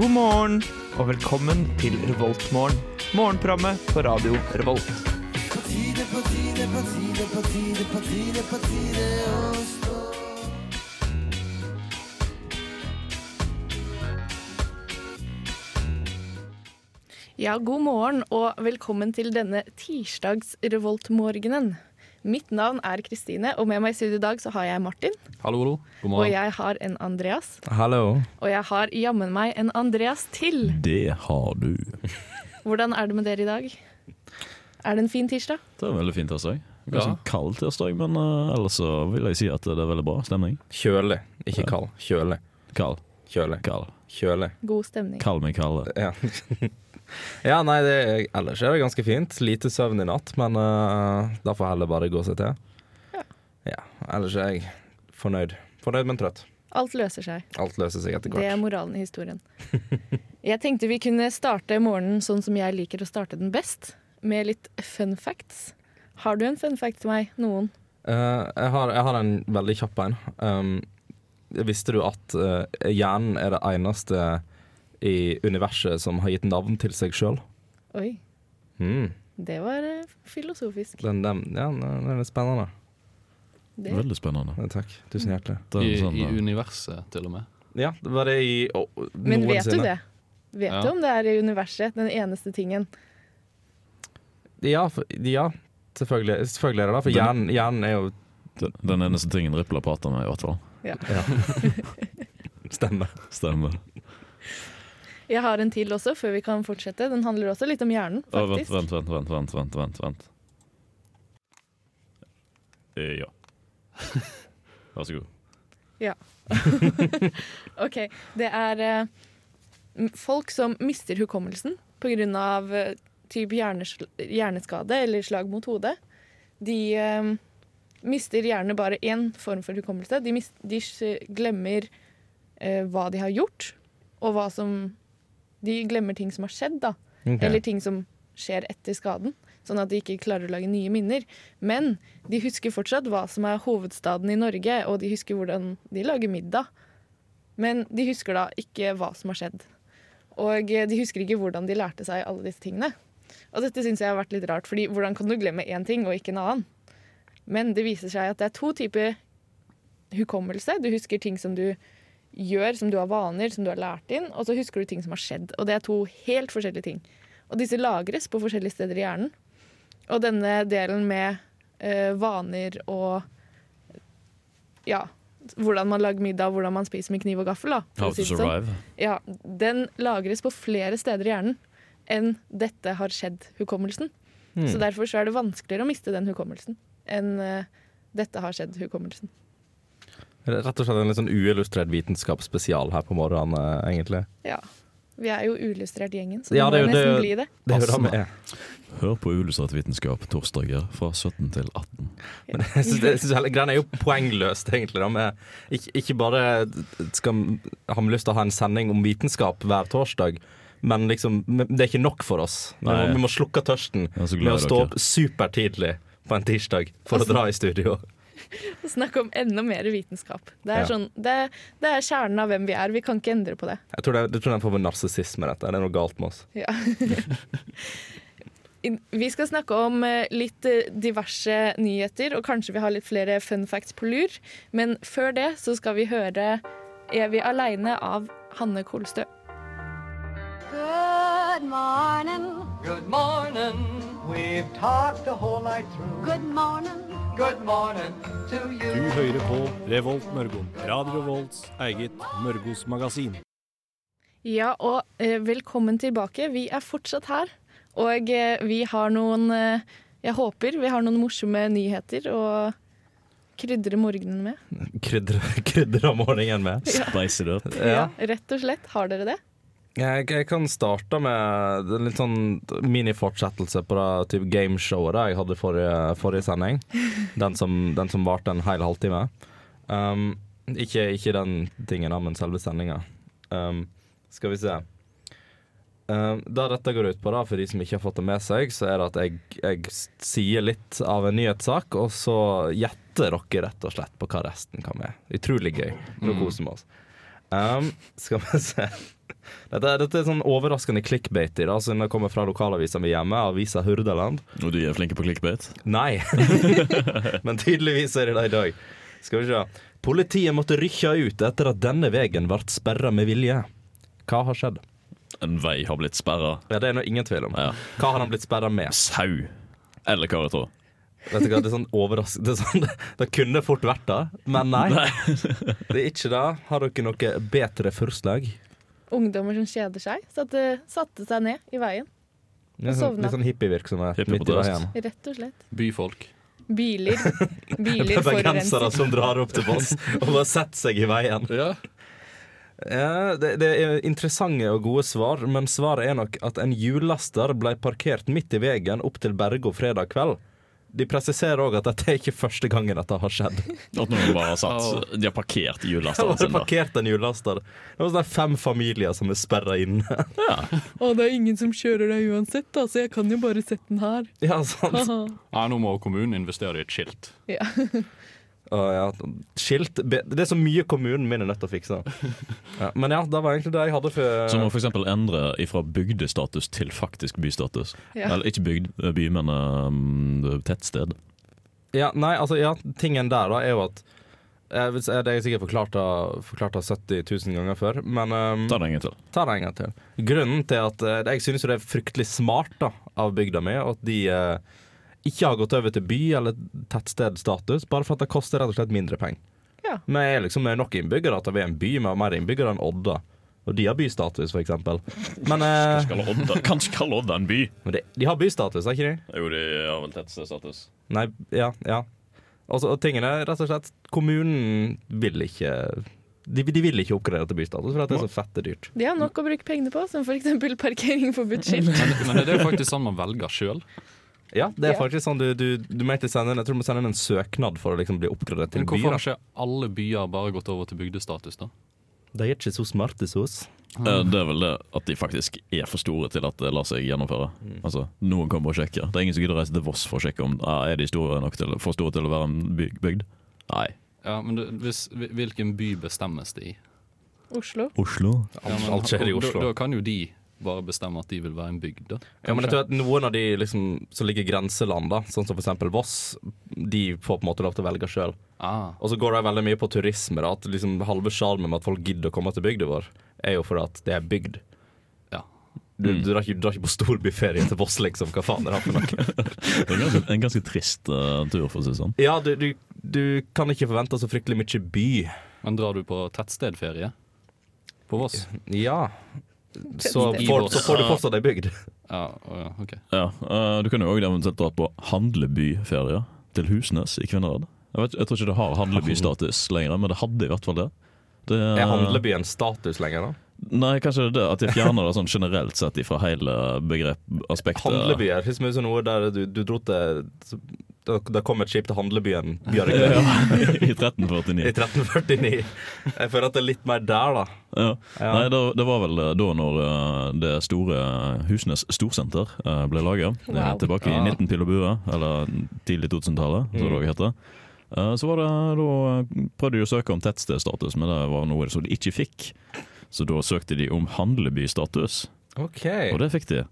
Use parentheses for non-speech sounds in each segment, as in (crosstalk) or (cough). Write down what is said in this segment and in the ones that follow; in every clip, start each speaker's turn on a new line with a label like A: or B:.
A: God morgen og velkommen til Revoltmorgen. Morgenprogrammet på radio Revolt.
B: Ja, god morgen og velkommen til denne tirsdagsrevoltmorgenen. Mitt navn er Kristine, og med meg i studio i dag så har jeg Martin.
C: Hallo, hallo. God
B: Og
C: morgen.
B: jeg har en Andreas.
D: Hallo.
B: Og jeg har jammen meg en Andreas til.
D: Det har du.
B: Hvordan er det med dere i dag? Er det en fin tirsdag?
D: Det er veldig fin tirsdag.
C: Ja.
D: Ganske kald tirsdag, men eh, ellers så vil jeg si at det er veldig bra stemning.
E: Kjøle, ikke kald. Kjøle.
D: Kald,
E: Kjøle.
D: kald.
E: Kjøle.
B: God stemning.
D: Kall meg Kalle.
E: Ja. (laughs) ja, nei, det, ellers er det ganske fint. Lite søvn i natt, men eh, da får heller bare gå seg til. Ja. Ellers er jeg fornøyd. Fornøyd, men trøtt.
B: Alt løser seg.
E: Alt løser seg etter
B: Det er
E: hvert.
B: moralen i (laughs) historien. Jeg tenkte vi kunne starte morgenen sånn som jeg liker å starte den best, med litt fun facts. Har du en fun fact til meg? Noen?
E: Eh, jeg, har, jeg har en veldig kjapp en. Um, visste du at eh, hjernen er det eneste i universet som har gitt navn til seg sjøl?
B: Oi,
E: Mm.
B: det var eh, filosofisk.
E: Den, den, ja, den er litt spennende.
B: Det.
D: Veldig spennende.
E: Eh, Takk. Tusen hjertelig.
D: Det er
C: I,
D: sånn,
C: I
D: eh,
C: universet, til og med.
E: Ja, det var det i å,
B: Men vet du
E: noensinne.
B: det? Vet
C: Ja.
B: du om det er i universet, den eneste tingen?
E: Ja, for, ja selvfølgelig, selvfølgelig er det det. For
D: Den-
E: hjernen, hjernen er jo
D: eh, den- den eneste tingen Rippla prater med, i hvert fall.
E: Stemmer.
D: Stemmer.
B: Jeg har en til også, før vi kan fortsette. Den handler også litt om hjernen,
D: Å, vent,
B: faktisk.
D: vent, vent, vent, vent, vent, vent, vent. Eh,
B: (laughs)
D: Ja. Vær så god.
B: Ok, det er eh, m- folk som mister hukommelsen pga. Uh, type hjernesl hjerneskade eller slag mot hodet. De eh, mister gjerne bare én form for hukommelse. De, mis de s- glemmer eh, hva de har gjort, og hva som De glemmer ting som har skjedd, da. Eller ting som skjer etter skaden. Sånn at de ikke klarer å lage nye minner. Men de husker fortsatt hva som er hovedstaden i Norge, og de husker hvordan de lager middag. Men de husker da ikke hva som har skjedd. Og eh, de husker ikke hvordan de lærte seg alle disse tingene. Og dette syns jeg har vært litt rart, fordi hvordan kan du glemme én ting og ikke en annen? Men det viser seg at det er to typer hukommelse. Du husker ting som du gjør, som du har vaner, som du har lært inn, og så husker du ting som har skjedd. Og det er to helt forskjellige ting. Og disse lagres på forskjellige steder i hjernen. Og denne delen med eh, vaner og ja, hvordan man lager middag, hvordan man spiser med kniv og gaffel, da. for å
D: How to
B: si det sånn.
D: survive.
B: Ja, den lagres på flere steder i hjernen enn 'dette har skjedd'-hukommelsen.
E: Mm.
B: Så derfor så er det vanskeligere å miste den hukommelsen enn eh, 'dette har skjedd'-hukommelsen.
E: Rett og slett en litt sånn uillustrert vitenskapsspesial her på morgenen, eh, egentlig.
B: Ja. Vi er jo uillustrert gjengen, så
E: Ja,
B: det må
E: det er jo-
B: nesten bli
E: det
B: det.
E: Det er jo det vi er.
D: Hør på Ulystrat vitenskap torsdager fra 17 til 18.
E: Men (laughs) jeg synes, jeg synes hele greia er jo poengløst, egentlig. Da. med- ikke, ikke bare skal, har vi lyst til å ha en sending om vitenskap hver torsdag, men liksom, det er ikke nok for oss. Vi må,
D: Nei.
E: vi må slukke tørsten
D: Jeg er så
E: med å
D: glad i
E: stå
D: dere.
E: opp supertidlig på en tirsdag for å dra i studio.
B: Snakk om enda mer vitenskap. Det er,
E: Ja.
B: sånn, det, det er kjernen av hvem vi er. Vi kan ikke endre på det.
E: Jeg tror det, er- jeg tror det er en form for narsissisme, dette. Det er noe galt med oss.
B: Ja.
E: (laughs)
B: I- Vi skal snakke om eh, litt eh, diverse nyheter, og kanskje vi har litt flere fun facts på lur. Men før det så skal vi høre 'Er vi aleine?' av Hanne Kolstø.
F: Good morning.
G: Good morning. We've talked the whole night through.
F: Good morning.
G: Good morning to you.
H: Du hører på Revolt Mørgo. Radio Revolts eget Mørgos magasin.
B: Ja, og eh, velkommen tilbake. Vi er fortsatt her, og eh, vi har noen eh, Jeg håper vi har noen morsomme nyheter å krydre morgenen med.
E: Krydre, (laughs) krydre om morgenen med.
D: Spice it up.
E: Ja.
B: Rett og slett. Har dere det?
E: Jeg, jeg kan starte med en litt sånn minifortsettelse på det typ gameshowet da jeg hadde forrige, forrige sending. Den som, den som varte en hel halvtime. Um, ikke, ikke den tingen, da, men selve sendinga. Um, skal vi se. Um, det dette går ut på, da, for de som ikke har fått det med seg, så er det at jeg, jeg s- sier litt av en nyhetssak, og så gjetter dere rett og slett på hva resten kan være. Utrolig gøy. Nå koser vi oss. Um, skal vi se dette, er- dette er sånn overraskende clickbait i dag, siden det kommer fra lokalavisa mi hjemme, avisa Hurdaland.
D: Og du er flinke på clickbait.
E: Nei, (laughs) men tydeligvis er det det i dag. Skal vi se. Politiet måtte rykke ut etter at denne veien ble sperra med vilje. Hva har skjedd?
D: En vei har blitt sperra.
E: Ja, det er nå ingen tvil om.
D: Ja.
E: Hva har han blitt sperra med?
D: Sau. Eller hva jeg tror.
E: Vet du hva, Det er sånn overraskende det, er sånn, det kunne fort vært det, men nei. Det er ikke det. Har dere noe bedre forslag?
B: Ungdommer som kjeder seg, satte, satte seg ned i veien,
E: Litt
B: sovna.
E: sånn hippievirksomhet
D: Hippie
E: midt i
D: på terrassen.
E: veien.
B: rett og slett.
C: Byfolk.
E: (laughs)
B: Biler, biler
E: Bergensere
B: forurenser.
E: som drar opp til Voss og bare setter seg i veien.
C: Ja.
E: Ja, det, det er interessante og gode svar, men svaret er nok at en hjullaster ble parkert midt i veien opp til Bergo fredag kveld. De presiserer òg at dette er ikke første gangen dette har (laughs) skjedd. Sånn,
D: At noen bare har satt De har parkert (laughs)
E: Det
D: hjullasteren
E: var
D: sin. da.
E: parkert en hjullaster. Det var sånn fem familier som er sperra inne.
B: Å, det er ingen som kjører deg uansett, da, så jeg kan jo bare sette den her.
E: (laughs) (laughs) Ja, sant.
B: Haha.
C: Nei, nå må kommunen investere i et skilt.
B: ja. (laughs)
E: Å, ja. Skilt be- Det er så mye kommunen min er nødt til å (laughs) fikse. Ja, men ja, det var egentlig det jeg hadde
D: Som å
E: for
D: f.eks. endre ifra bygdestatus til faktisk bystatus.
B: Ja.
D: Eller ikke bygd, eh, by, men eh, tettsted.
E: ja, Nei, altså, ja, tingen der da er jo at eh, hvis- eh, Det er jeg sikkert forklart av, forklart av 70 000 ganger før, men ehm,
D: Ta det en gang til.
E: Ta det en gang til. Grunnen til at eh, Jeg synes jo det er fryktelig smart da, av bygda mi at de eh, ikke har gått over til by eller tettstedstatus, bare for at det koster rett og slett mindre penger.
B: Ja.
E: Vi er liksom med nok innbyggere at vi er en by med mer innbyggere enn Odda. Og de har bystatus, for eksempel. Men, eh,
D: Skal (laughs) Odda, kanskje kalle Odda en by?
E: men de, de har bystatus, har ikke de?
D: Jo, de har vel tettstedstatus.
E: Nei, ja, ja. Og så- og tingene er rett og slett Kommunen vil ikke de, de vil ikke oppgradere til bystatus, for at det er så fette dyrt.
B: De har nok å bruke pengene på, som f.eks. parkering forbudt skilt.
E: (laughs)
C: Men, men er det jo faktisk sånn man velger sjøl?
E: Ja, det er
B: Ja.
E: faktisk sånn du, du, du må egentlig sende inn Jeg tror du må sende inn en søknad for å liksom bli oppgradert til by.
C: Hvorfor
E: da.
C: har ikke alle byer bare gått over til bygdestatus, da?
E: De er ikke så smarte som oss.
D: Eh, Det er vel det at de faktisk er for store til at det lar seg gjennomføre. Altså, Noen kommer og sjekker. Det er ingen som gidder å reise til Voss for å sjekke om ah, er de store nok til, for store til å være en by- bygd. Nei.
C: Ja, men det, hvis, Hvilken by bestemmes det i?
B: Oslo.
D: Oslo.
C: Ja, men,
E: alt skjer i Oslo.
C: Da, da kan jo de bare bestemme at de vil være en bygd, da.
E: Ja, men jeg
C: Kanskje.
E: tror at Noen av de liksom, som ligger i grenseland, da, sånn som f.eks. Voss, de får på en måte lov til å velge sjøl.
C: ah,
E: Og så går det veldig mye på turisme. da, at liksom Halve sjarmen med at folk gidder å komme til bygda vår, er jo for at det er bygd.
C: ja.
E: Du, du, drar, ikke, du drar ikke på storbyferie til Voss, liksom. Hva faen er det for noe?
D: Det er en ganske, en ganske trist eh, tur, for å si det sånn.
E: (laughs) Ja, du, du, du kan ikke forvente så fryktelig mye by.
C: Men drar du på tettstedferie på Voss?
E: Ja. Så
B: I
E: får,
C: Voss.
E: så får du fortsatt ei bygd.
C: Ja, å ja, OK.
D: Ja, eh, Du kan jo òg eventuelt dra på handlebyferie til Husnes i Kvinnherad. Jeg, vet, jeg tror ikke det har handlebystatus lenger, men det hadde i hvert fall det. det
E: (laughs)
D: eh,
E: Er handlebyen status lenger, da?
D: Nei, kanskje det er det at de fjerner det sånn generelt sett ifra hele begrep, aspektet.
E: Handlebyer. Hvis vi så noe der du, du dro til da, da kom et skip til handlebyen Bjørge (laughs)
D: Ja, (laughs) I
E: i
D: 1349.
E: 1349. Jeg føler at det er litt mer der, da.
D: Ja.
E: Ja.
D: Nei, det, det var vel da når eh, det store Husnes storsenter eh, ble laga.
B: Wow.
D: Tilbake i
C: Ja.
D: 19 pil og bue, eller tidlig 2000-tallet, som det òg heter. Eh, Så var det, da eh, prøvde de å søke om tettstedstatus, men det var noe som de ikke fikk. Så da søkte de om handlebystatus,
E: Ok
D: og det fikk de.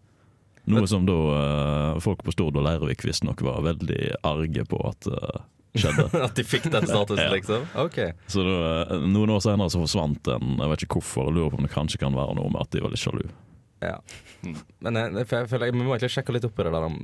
D: Noe som da eh, folk på Stord og Leirvik visstnok var veldig arge på at eh, skjedde.
E: (laughs) (laughs) At de fikk den statusen, (laughs)
D: Ja.
E: liksom? Ok
D: Så da, eh, noen år senere så forsvant den. Jeg vet ikke hvorfor. Jeg lurer på om det kanskje kan være noe med at de var litt sjalu.
E: ja. Men jeg, jeg føler jeg, vi må egentlig sjekke litt opp i det der om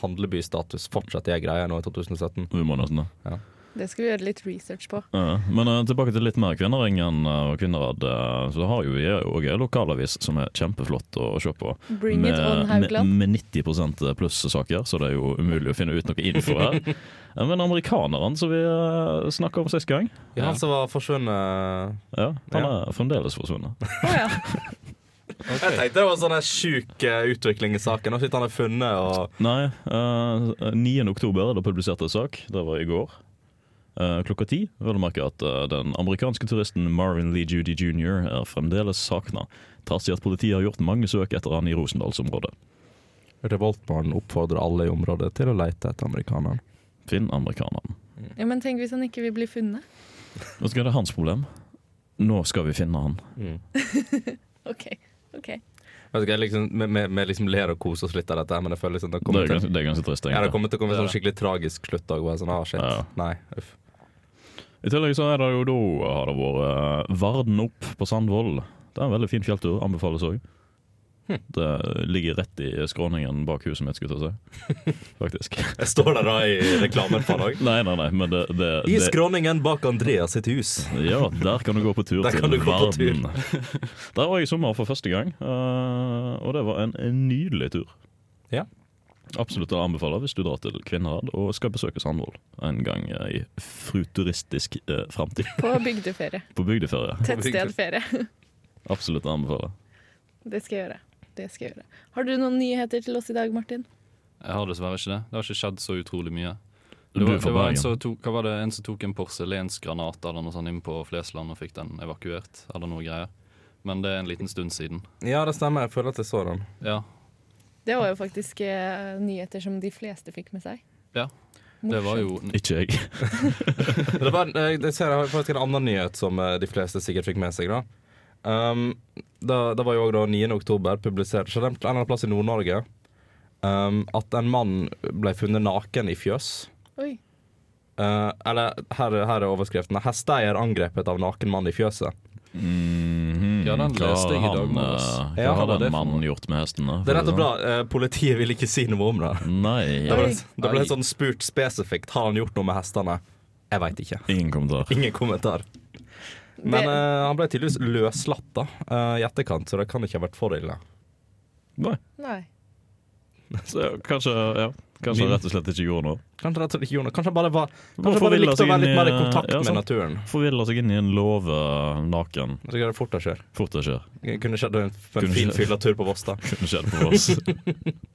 E: handlebystatus. Fortsatt er greia nå i 2017.
D: Vi må nesten det.
B: Det skal vi gjøre litt research på.
D: Ja, Men eh, tilbake til litt mer Kvinneringen eh, og Kvinnherad. eh, Så har jo vi òg en lokalavis som er kjempeflott å se på.
B: Bring it on,
D: med,
B: Haugland.
D: med 90 pluss-saker, så det er jo umulig å finne ut noe info her.
B: (laughs)
D: Eh, Men amerikaneren som vi eh, snakka om sist gang,
E: Ja, han som var forsvunnet
D: ja, han er fremdeles forsvunnet.
B: Å ja.
E: Jeg tenkte det var sånn en sjuk eh, utvikling i saken. Nå sitter han er funnet og
D: Nei, eh, 9. oktober er det publisert en sak. Det var i går. Eh, klokka ti vil du merke at eh, den amerikanske turisten Marvin Lee Judy jr. er fremdeles savna, trass i at politiet har gjort mange søk etter han i Rosendalsområdet.
E: Revoltbarn oppfordrer alle i området til å lete etter amerikaneren.
D: Finn amerikaneren.
B: ja, men tenk hvis han ikke vil bli funnet.
D: Vet du hva, det er hans problem. Nå skal vi finne han.
B: OK. ok.
E: Vet ikke, jeg liksom, vi- vi- vi liksom ler og koser oss litt av dette, her, men jeg føler liksom det
D: Det
E: kommer
D: er,
E: til
D: gans- det er ganske trist.
E: ja, det
D: egentlig.
E: kommer til å komme en sånn skikkelig tragisk slutt òg. Sånn, ah, shit.
D: Ja.
E: Nei, uff.
D: I tillegg så er det jo da har det vært eh, Varden opp på Sandvoll. Det er en veldig fin fjelltur. Anbefales òg.
E: Hm.
D: Det ligger rett i skråningen bak huset mitt, skulle jeg
E: (laughs)
D: til å si. Faktisk.
E: Jeg står der da i reklamen for deg.
D: Nei, nei, nei, men det, det,
E: I
D: det
E: skråningen bak Andreas sitt hus.
D: Ja, der kan du gå på tur
E: (laughs) Der
D: til
E: kan du gå på tur.
D: verden. Der var jeg i sommer for første gang, eh, og det var en, en nydelig tur.
E: Ja.
D: Absolutt å anbefale hvis du drar til Kvinnherad og skal besøke Sandvoll en gang eh, i futuristisk uh, framtid. (laughs)
B: På bygdeferie.
D: På bygdeferie.
B: Tettstedferie.
D: Absolutt å anbefale.
B: Det skal jeg gjøre. Det skal jeg gjøre. Har du noen nyheter til oss i dag, Martin?
C: Jeg har dessverre ikke det. Det har ikke skjedd så utrolig mye.
D: Du
C: Det var,
D: er fra
C: det var en,
D: Bergen.
C: som tok, hva var det, en som tok en porselensgranat eller noe sånt inn på Flesland og fikk den evakuert, eller noe greier. Men det er en liten stund siden.
E: Ja, det stemmer. Jeg føler at jeg så den.
C: Ja,
B: Det var jo faktisk eh, nyheter som de fleste fikk med seg.
C: ja. Det var jo
E: (laughs)
D: Ikke jeg.
E: Det var, eh, jeg ser jeg har faktisk en annen nyhet som eh, de fleste sikkert fikk med seg. da um, da- Det var jo også da 9. oktober publisert så det er en eller annen plass i Nord-Norge um, at en mann ble funnet naken i fjøs.
B: Oi.
E: Eh, eller her, her er overskriften. Hesteeier angrepet av naken mann i fjøset.
C: Ja, den
D: Hva
C: leste jeg i
D: har
C: dag
D: Mm, han,
C: morges.
D: eh,
E: Ja,
D: Hva
E: hva
D: har
E: var det
D: den
E: for
D: mannen gjort med hestene?
E: Det er rett og slett bra. eh, politiet vil ikke si noe om det. Det
D: Nei,
E: ble,
B: Oi.
E: det ble sånn spurt spesifikt. Har han gjort noe med hestene? Jeg veit ikke.
D: ingen kommentar.
E: (laughs) Ingen kommentar. Men
B: Det-
E: eh, han ble tydeligvis løslatt da, eh, i etterkant, så det kan ikke ha vært for ille.
D: Nei,
B: Nei.
D: så kanskje, ja. Kanskje han rett og slett ikke gjorde noe.
E: Kanskje rett og slett ikke gjorde noe. Kanskje han bare, var, kanskje
D: Hvorfor
E: han bare
D: ville han
E: likte å
D: seg
E: være
D: inn
E: litt
D: i-
E: mer i kontakt
D: ja,
E: med
D: sant.
E: naturen.
D: Forvilla seg inn i en låve naken.
E: Så det er fort det skjer.
D: Fort det skjer. (laughs)
E: Det Kunne skjedd en, en
D: Kunne
E: fin
D: skjedd.
E: fyllatur på Voss, da.
D: Kunne skjedd på
E: (laughs)
D: Voss.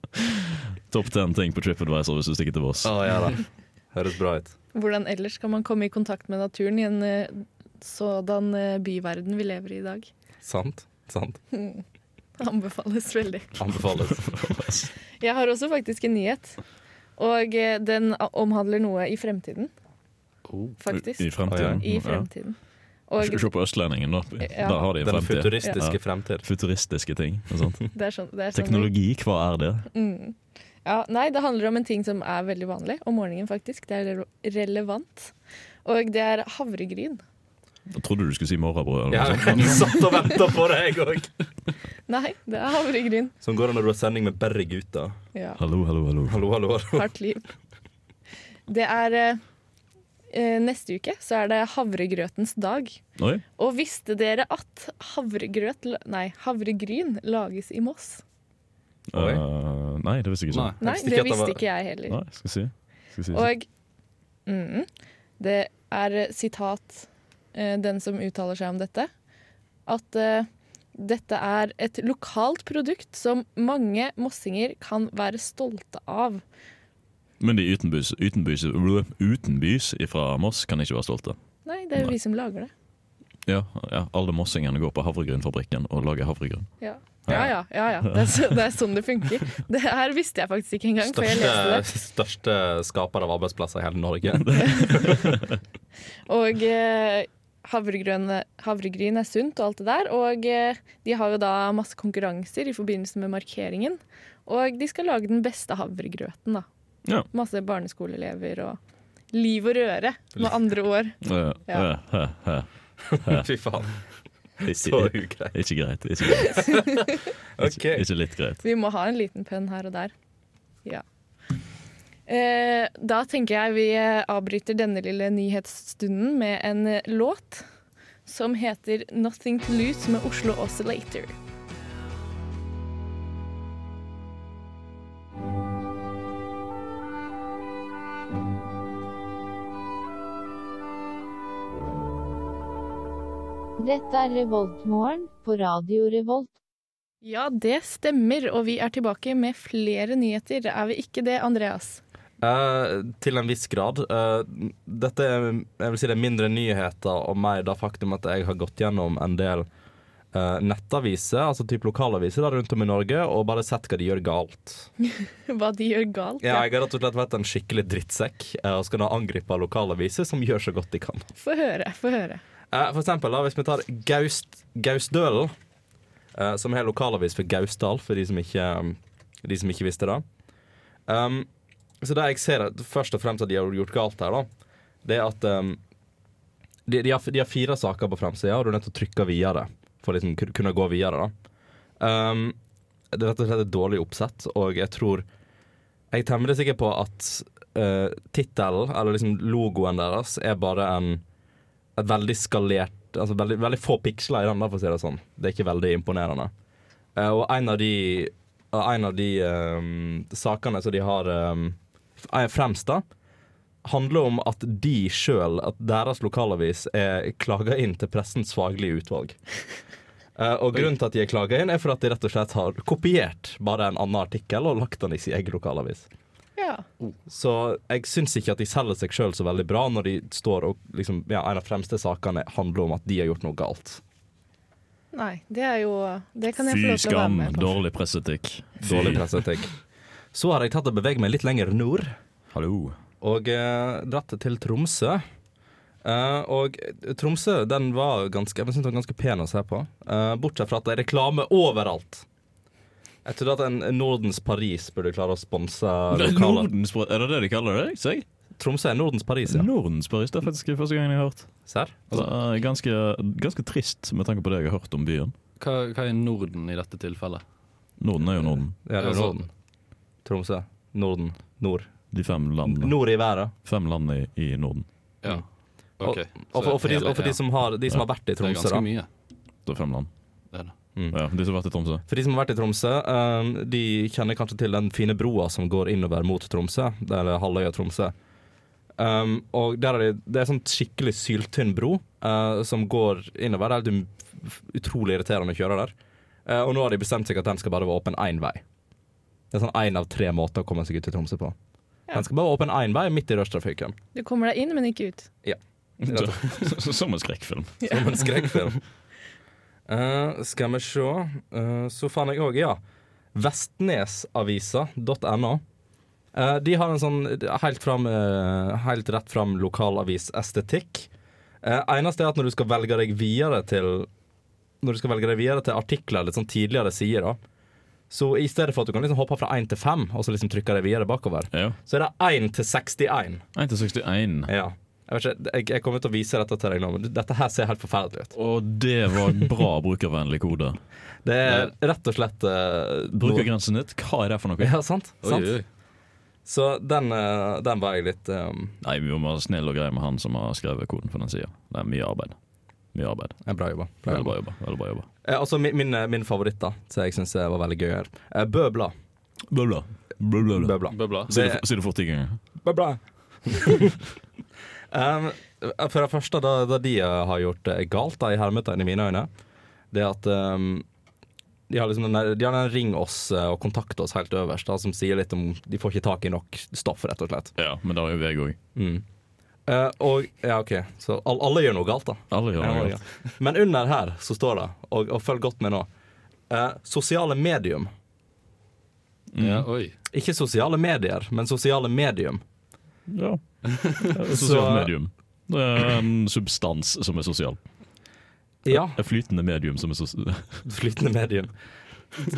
D: Topp 10 ting på TripAdvisor hvis du stikker til Voss.
E: Å, ja da. (laughs) Høres bra ut.
B: Hvordan ellers kan man komme i kontakt med naturen i en eh, sådan eh, byverden vi lever i i dag?
E: Sant. Sant.
B: Anbefales veldig.
E: (laughs) Anbefales.
B: Jeg har også faktisk en nyhet. Og eh, den a- omhandler noe i fremtiden.
D: Oh, I
B: Faktisk.
D: fremtiden.
B: I fremtiden.
D: Ja.
B: Og
D: Se på Østlendingen, da.
B: Ja.
D: Der har de en
E: Den
D: fremtid.
E: futuristiske fremtid.
D: Futuristiske ting.
B: (laughs)
D: ikke Sant?
B: det er sånn, det er sånn vi-
D: Teknologi, hva er det?
B: Ja, nei, det handler om en ting som er veldig vanlig om morgenen, faktisk. Det er rele- relevant. Og det er havregryn.
D: Jeg trodde du skulle si morrabrød.
E: Ja,
D: Eller noe sånt. (laughs)
E: jeg satt og venta på det, jeg òg.
B: Nei, det er havregryn.
E: Som går det når du har sending med bare gutter.
B: Ja,
D: Hallo, hallo, hallo.
E: Hallo, hallo. hallo.
B: hardt liv. Det er eh, eh, Neste uke så er det havregrøtens dag.
D: Oi,
B: Og visste dere at havregrøt la- Nei, havregryn lages i Moss?
E: Oi.
D: eh, nei, det visste jeg ikke.
C: Nei.
B: Nei,
E: visste ikke
B: det
E: at det var-
B: visste ikke jeg heller.
D: Nei, skal jeg si. Skal jeg si.
B: Og mm, det er eh, sitat eh, den som uttaler seg om dette, at eh, dette er et lokalt produkt som mange mossinger kan være stolte av.
D: Men de utenbys, utenbys, utenbys fra Moss kan ikke være stolte.
B: Nei, det er jo
D: Nei.
B: vi som lager det.
D: Ja, ja, Alle mossingene går på havregrynfabrikken og lager havregryn.
B: Ja. Ja, ja, ja, ja. Det, er så, det er sånn det funker. Det her visste jeg faktisk ikke engang før jeg leste det.
E: Største, største skaper av arbeidsplasser i hele Norge.
B: Og eh, havregrøn, havregryn er sunt og alt det der. Og eh, de har jo da masse konkurranser i forbindelse med markeringen. Og de skal lage den beste havregrøten, da.
D: Ja.
B: Masse barneskoleelever og liv og røre, med andre ord.
D: Eh,
B: Ja.
D: eh, eh, eh.
E: (laughs) Fy faen. Så
D: Ikke,
E: ugreit.
D: ikke greit. Ikke, greit.
E: OK.
D: ikke, ikke litt greit.
B: Vi må ha en liten pønn her og der. Ja. Eh, da tenker jeg vi eh, avbryter denne lille nyhetsstunden med en eh, låt som heter 'Nothing to Lose' med Oslo Oscillator.
I: Dette er Revoltmorgen på Radio Revolt.
B: Ja, det stemmer, og vi er tilbake med flere nyheter. Er vi ikke det, Andreas? (laughs)
E: Eh, til en viss grad. Eh, dette er, jeg vil si det er mindre nyheter og mer det faktum at jeg har gått gjennom en del eh, nettaviser, altså typ lokalaviser da, rundt om i Norge, og bare sett hva de gjør galt.
B: Hva de gjør galt?
E: Ja, jeg har rett og slett vært en skikkelig drittsekk eh, og skal nå angripe lokalaviser som gjør så godt de kan.
B: Få høre, få høre.
E: Eh, Eh, for eksempel, da, hvis vi tar Gaust, Gaustdølen, eh, som har lokalavis for Gausdal, for de som ikke, eh, de som ikke visste det. Um, så det jeg ser at først og fremst at de har gjort galt her, da, det er at um, de, de, har, de har fire saker på fremsida, og du er nødt til å trykke videre for å liksom ku- kunne gå videre. da. Um, det er rett og slett et dårlig oppsett, og jeg tror Jeg er temmelig sikker på at uh, tittelen, eller liksom logoen deres, er bare en et veldig skalert altså veldig, veldig få piksler i den, da, for å si det sånn. Det er ikke veldig imponerende. Eh, og en av de, og en av de ehm, sakene som de har ehm, f- eh, fremst, da, handler om at de sjøl, at deres lokalavis, er klaga inn til pressens faglige utvalg. Eh, og grunnen til at de er klaga inn, er for at de rett og slett har kopiert bare en annen artikkel og lagt den i sin egen lokalavis.
B: Ja.
E: Så jeg syns ikke at de selger seg sjøl så veldig bra når de står og liksom, ja, En av fremste sakene handler om at de har gjort noe galt.
B: Nei, det er jo Det kan jeg få
D: Fy
B: lov til å være
D: skam,
B: med på.
D: dårlig presseetikk. Fy.
E: Dårlig presseetikk. Så har jeg tatt og beveget meg litt lenger nord,
D: Hallo.
E: og eh, dratt til Tromsø. Eh, og Tromsø den var ganske Jeg synes den var ganske pen å se på, eh, bortsett fra at det er reklame overalt. Jeg trodde at en Nordens Paris burde klare å sponse lokaler.
D: Nordens, Par- er det det de kaller det? Ser jeg?
E: Tromsø er Nordens Paris, ja.
D: Nordens Paris. Det er faktisk første gangen jeg har hørt.
E: Serr?
D: Det er ganske, ganske trist med tanke på det jeg har hørt om byen.
C: Hva, hva er Norden i dette tilfellet?
D: Norden er jo Norden.
E: Ja,
C: Altså-
E: det er Norden. Tromsø. Norden. Nord.
D: De fem landene,
E: Nord i været.
D: fem landene i Norden.
C: Ja. OK.
E: Mm. Og for, og for, de, og for de, som har, de som har vært i
C: Det er
E: Tromsø,
C: ganske
E: da.
C: mye.
D: Det er fem land.
C: Det er det.
D: Ja, de som har vært i Tromsø.
E: For de som har vært i Tromsø, eh, de kjenner kanskje til den fine broa som går innover mot Tromsø, eller halvøya Tromsø. Um, og der er det, det er en sånn skikkelig syltynn bro eh, som går innover. Det er helt um- utrolig irriterende å kjøre der. Eh, og nå har de bestemt seg at den skal bare være åpen én vei. Det er sånn én av tre måter å komme seg ut til Tromsø på.
B: Ja.
E: Den skal bare være åpen én vei midt i rushtrafikken.
B: Du kommer deg inn, men ikke ut.
E: Rett og
D: Som en skrekkfilm.
E: (laughs) Som en skrekkfilm. Eh, skal vi se Eh, Så fant jeg òg, ja. Vestnesavisa.no. Eh, de har en sånn helt, fram, eh, helt rett fram lokalavisestetikk. Uh, eneste er at når du skal velge deg videre til Når du skal velge deg videre til artikler litt sånn tidligere sider, da, så i stedet for at du kan liksom hoppe fra 1 til 5 og så liksom trykke deg videre bakover,
D: Ja.
E: så er det 1 til 61.
D: 1 til 61.
E: Ja. Jeg, vet ikke, jeg, jeg kommer til å vise dette til deg nå, men dette her ser helt forferdelig ut.
D: Og det var bra brukervennlig kode.
E: Det er rett og slett eh,
D: Brukergrensen ditt, hva er det for noe?
E: Ja, sant?
C: Oi,
E: sant?
C: oi.
E: Så den, eh, den var jeg litt um,
D: Nei, vi må være snill og greie med han som har skrevet koden på den sida. Det er mye arbeid. Mye arbeid.
E: Bra jobba. Bra
D: Veldig
E: jobba.
D: bra jobba. Veldig bra jobba.
E: Eh, altså min, min, eh, min favoritt, da, som jeg syns var veldig gøy her. Eh, Bøbla.
D: Bla, bla. Bla, bla, bla.
E: Bøbla.
C: Bøbla.
D: Si det, si det fort ti ganger.
E: Bøbla. (laughs) um, for det første, det, det de eh, har gjort eh, galt, da, i hermetegn i mine øyne, det er at um, de har liksom den der, de har den 'ring oss' eh, og 'kontakt oss' helt øverst, da, som sier litt om De får ikke tak i nok stoff, rett og slett.
D: Ja, men det har jo jeg òg.
E: Mm. Eh, og Ja, OK. Så all, alle gjør noe galt, da.
D: Alle gjør
E: Ja,
D: det.
E: ja. Men under her så står det, og, og følg godt med nå eh, Sosiale medium.
C: Ja,
D: Mm.
C: oi.
E: Ikke sosiale medier, men sosiale medium.
D: Ja. (laughs)
E: Så-
D: Sosialt medium. Det er en substans som er sosial.
E: Ja,
D: Et flytende medium som er (laughs) sosial.
E: (laughs) flytende medium.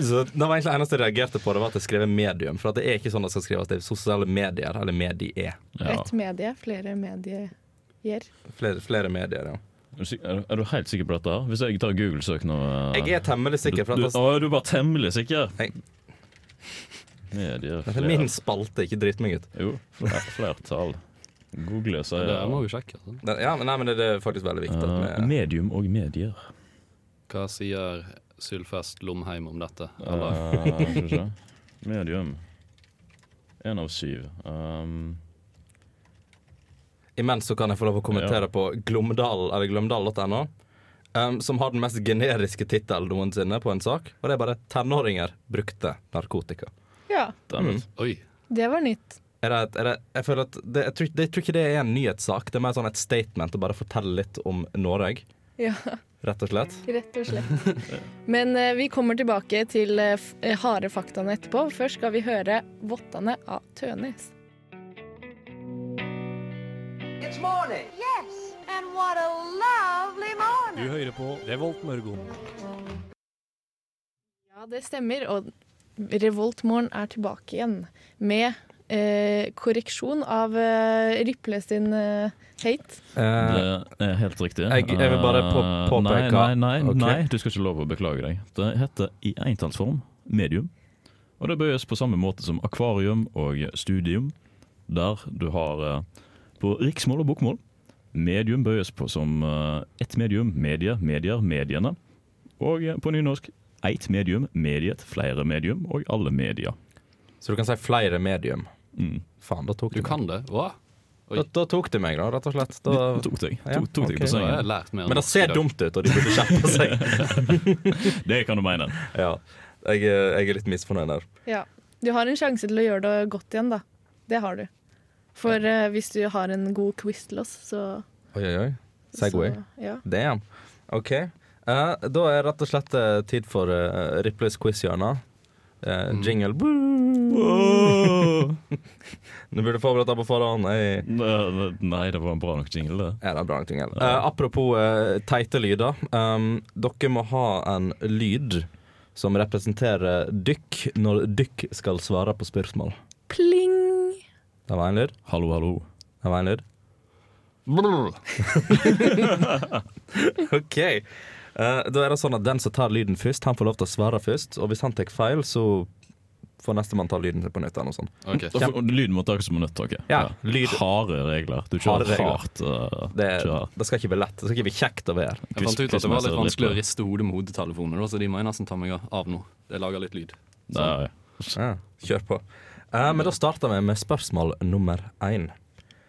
E: Så Det var egentlig det eneste jeg reagerte på, Det var at jeg skrev medium. For at det er ikke sånn det skal skrives. Det er sosiale medier, eller medie.
D: Ja.
B: Ett medie, flere medier.
E: Flere, flere medier, ja.
D: Er du sik- Er, du- er du helt sikker på dette? her? Hvis jeg tar Google-søk nå eh,
E: Jeg er sånn- temmelig sikker. for
D: du,
E: at det,
D: Å, er du bare temmelig sikker?
E: Nei.
D: Medier,
E: det
D: flere
E: er min spalte, ikke drit meg ut.
D: Jo, fler, flertall. Google sier
C: Det må vi sjekke. Altså.
E: Det- Ja, men, nei, men det er faktisk veldig viktig.
D: Eh,
E: At vi,
D: medium og medier.
C: Hva sier Sylfest Lomheim om dette? Eller
D: Eh, Skal vi se. Medium. Én av syv. Um,
E: Imens så kan jeg få lov å kommentere
D: Ja.
E: på Glomdal, eller glomdal.no, um, som har den mest generiske tittelen noensinne på en sak. Og det er bare 'Tenåringer brukte narkotika'.
B: Ja,
D: damn
E: Mm.
D: it.
C: Oi.
B: det var nytt.
E: Er det, et- er det, jeg, føler at det, jeg, tror, ikke- jeg tror ikke det er en nyhetssak. Det er mer sånn et statement å bare fortelle litt om Norge,
B: Ja, (laughs)
E: rett og slett.
B: rett og slett. Men eh, vi kommer tilbake til eh, f- eh, harde faktaene etterpå. Først skal vi høre 'Vottane av Tønes'.
G: It's morning.
F: Yes, and what a lovely
H: Du
F: morning.
H: hører på Revolt Mørgon.
B: Ja, det stemmer. Og Revoltmorgen er tilbake igjen med eh, korreksjon av eh, Riple sin eh, hate.
E: Eh,
D: Det er helt riktig.
E: Jeg- jeg vil bare på- påpeke-
D: Eh, Nei, nei, nei,
E: Ok.
D: nei, du skal ikke lov å beklage deg. Det heter i entallsform medium. Og det bøyes på samme måte som akvarium og studium, der du har eh, på riksmål og bokmål. Medium bøyes på som eh, ett medium, medie, medier, mediene. Og eh, på nynorsk eit medium, mediet, flere medium og alle media.
E: så du kan si flere medium.
D: Mm.
E: Faen, da tok
C: Du
E: det meg.
C: kan det? Hva? Oi.
E: Da, da tok det meg, da, rett og slett. Da,
D: Det tok deg,
E: Ja,
D: tok, tok deg
E: ok.
D: på
C: Så har
D: sengen.
C: jeg lært mer
E: men det
C: norsk i
E: ser
C: dag.
E: dumt ut, og de burde skjerpe seg.
D: Det kan du mene.
E: ja. jeg, er- jeg er litt misfornøyd der.
B: Ja. Du har en sjanse til å gjøre det godt igjen, da. Det har du. For eh, hvis du har en god quiz til oss, så
E: Oi, oi, oi. Segway.
B: så- Ja.
E: Damn. OK. Eh, da er rett og slett eh, tid for uh, Ripples quiz-hjørne. Eh, jingle. (laughs) Du burde forberedt deg på forhånd. Hey.
D: Nei, Nei, det var en bra nok jingle, det.
E: Er det bra nok, Ingel? Eh, apropos eh, teite lyder. ehm, dere må ha en lyd som representerer dykk når dykk skal svare på spørsmål.
B: Pling!
E: Det var en lyd.
D: Hallo, hallo.
E: Det var en lyd.
C: Brr.
E: (laughs) OK. Eh, da er det sånn at Den som tar lyden først, han får lov til å svare først. Og hvis han tar feil, så får nestemann ta lyden sin på nytt. eller noe sånt.
C: Ok.
D: Da får- Lyden må takes som er nødt,
E: Ja, lyd.
D: Harde regler. Du kjører
E: Harde regler.
D: hardt. Uh,
E: Det,
D: kjører
E: det skal ikke bli lett. Det skal ikke bli kjekt å være.
C: Jeg fant ut at det var litt
D: Quizmester
C: vanskelig å
D: Ripley.
C: riste hodet med hodetelefoner, da, så de må jeg nesten ta meg av nå. Jeg lager litt lyd.
D: Det er- ja.
E: Ja, kjør på. Eh, men da starter vi med spørsmål nummer én.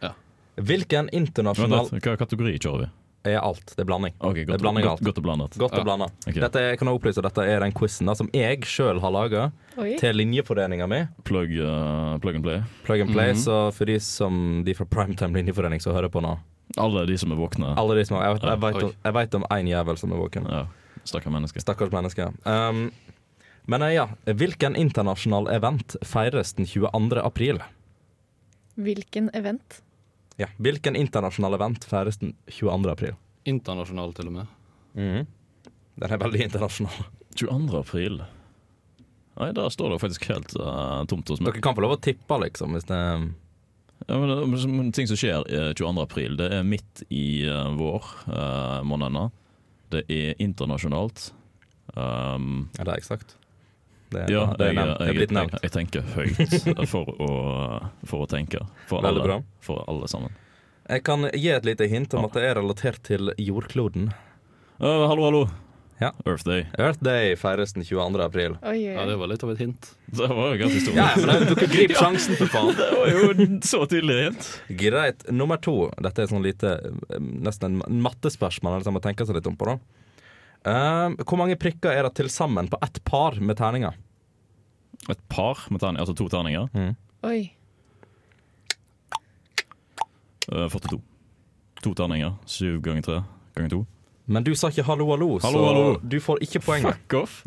C: Ja.
E: Hvilken internasjonal
D: Vent litt, Hva kategori kjører vi?
E: er alt? Det er blanding.
D: Ok,
E: Det
D: Godt,
E: er blanding av
D: godt,
E: alt.
D: godt og blandet.
E: Godt
C: Ja.
E: og blanda.
D: Ok.
E: Dette er, kan jeg opplyse, dette er den quizen som jeg sjøl har laga
B: Oi.
E: til linjeforeninga mi.
D: Plug, uh, plug and play.
E: Plug and play. Så for de som de fra Primetime linjeforening som hører på nå
D: Alle de som er våkne.
E: Alle de som har, Jeg, jeg,
D: Ja,
E: vet om-
C: oi.
E: jeg vet om én jævel som er våken.
D: Ja, Stakkars mennesker.
E: Stakkars menneske. Um, men eh, ja, hvilken internasjonal event feires den 22. april?
B: Hvilken event?
E: Ja, hvilken internasjonal event feires den 22. april?
C: Internasjonal, til og med.
E: Den er veldig internasjonal.
D: 22. april. Nei, der står det faktisk helt uh, tomt hos
E: Dere
D: meg.
E: kan få lov å tippe, liksom. Hvis det,
D: Ja, men, det er som- ting som skjer eh, 22. april, det er midt i uh, vår, uh, månedene. Det er internasjonalt. Um,
E: er det eksakt? Det,
D: Ja,
E: det er,
D: jeg,
E: nevnt. det
D: jeg,
E: er
D: jeg,
E: blitt nevnt.
D: jeg, tenker høyt for å, for å tenke. For
E: Veldig
D: alle,
E: bra.
D: for alle sammen.
E: Jeg kan gi et lite hint om at det er relatert til jordkloden.
D: Øh, hallo, hallo!
E: Ja.
D: Earth Day.
E: Earth Day feires den 22. april.
B: Oi, oi,
C: Ja,
B: oi.
C: det var litt av et hint.
D: Det var jo ganske stort.
E: Ja, men jeg- dere griper sjansen, for faen.
D: Det var jo så tydelig hint.
E: Greit. Nummer to. Dette er sånn lite eh, Nesten en mattespørsmål som man må tenke seg litt om på, da. Eh, hvor mange prikker er det til sammen på ett par med terninger?
D: Et par med terninger, altså to terninger.
E: Mm.
B: oi.
D: Øh, 42. To terninger. Syv ganger tre ganger to.
E: Men du sa ikke hallo, hallo,
D: Hallo,
E: så
D: hallo.
E: du får ikke poenget.
D: Fuck off!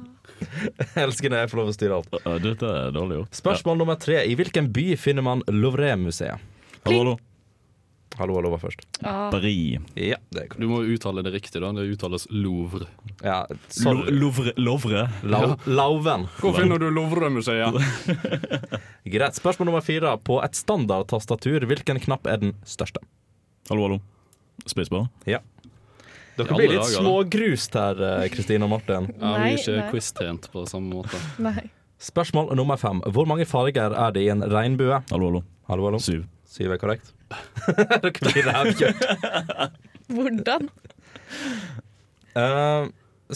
E: (laughs) Jeg elsker når jeg får lov å styre alt.
D: Øh, dette er dårlig gjort.
E: Spørsmål nummer tre. I hvilken by finner man Louvre-museet?
D: Ja. Hallo, hallo.
E: Hallo, hallo var først.
B: Ah,
D: Paris.
E: Ja, det er korrekt.
C: Du må jo uttale det riktig, da. Det uttales Louvre.
E: Ja,
D: Lo-
E: sorry.
D: Louvre. Louvre.
E: Lau- Lauven.
C: Hvor finner du Louvre-museet?
E: Greit. Spørsmål nummer fire. På et standardtastatur, hvilken knapp er den største?
D: Hallo, hallo. Spacebar.
E: Ja. Dere blir
C: I alle
E: litt
C: dager, da.
E: smågrust her, eh, Kristine og Martin.
C: Ja, men vi
B: Nei,
C: er ikke
B: nei.
C: quiz-trent på samme måte. (laughs)
B: nei.
E: Spørsmål nummer fem. Hvor mange farger er det i en regnbue?
D: Hallo, hallo.
E: Hallo, hallo.
D: Syv.
E: Syv er korrekt. (laughs) Dere blir rævkjørt.
B: Hvordan?
E: Eh,